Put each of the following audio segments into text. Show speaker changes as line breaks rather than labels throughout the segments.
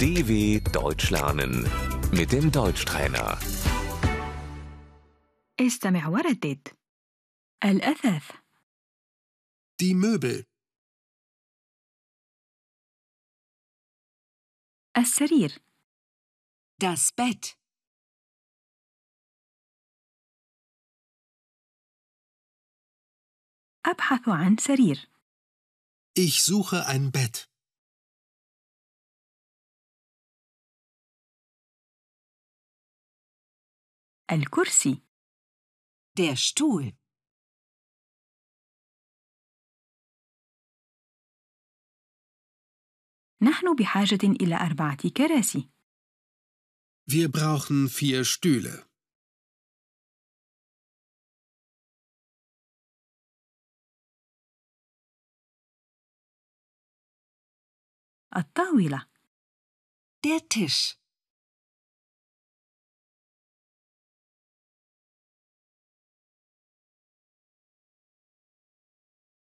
DW Deutsch lernen mit dem Deutschtrainer.
استمع وردد الأثاث
Die Möbel,
السرير
Das Bett,
أبحث عن سرير
ich suche ein Bett.
الكرسي
der Stuhl,
نحن بحاجة إلى أربعة كراسي
Wir brauchen vier Stühle.
الطاولة er
der Tisch,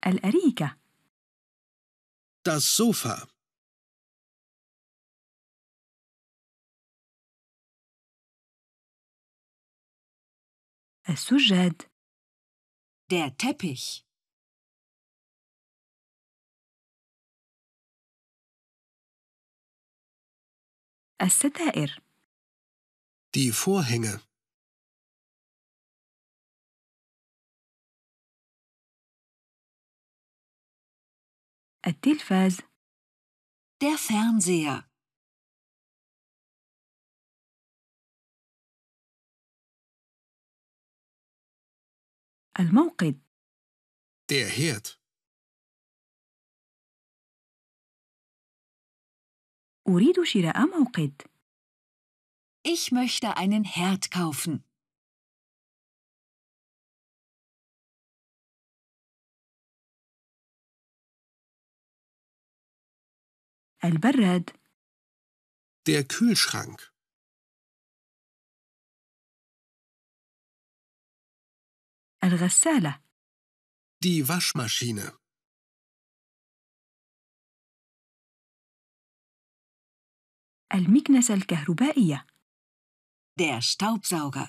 الأريكة
Das Sofa,
السجاد er
der Teppich,
الستائر
die Vorhänge,
التلفاز
der Fernseher,
الموقد
der Herd,
أريد شراء موقد
ich möchte einen Herd kaufen.
البراد
der Kühlschrank,
الغسالة
die Waschmaschine,
المكنسة الكهربائية
Der Staubsauger.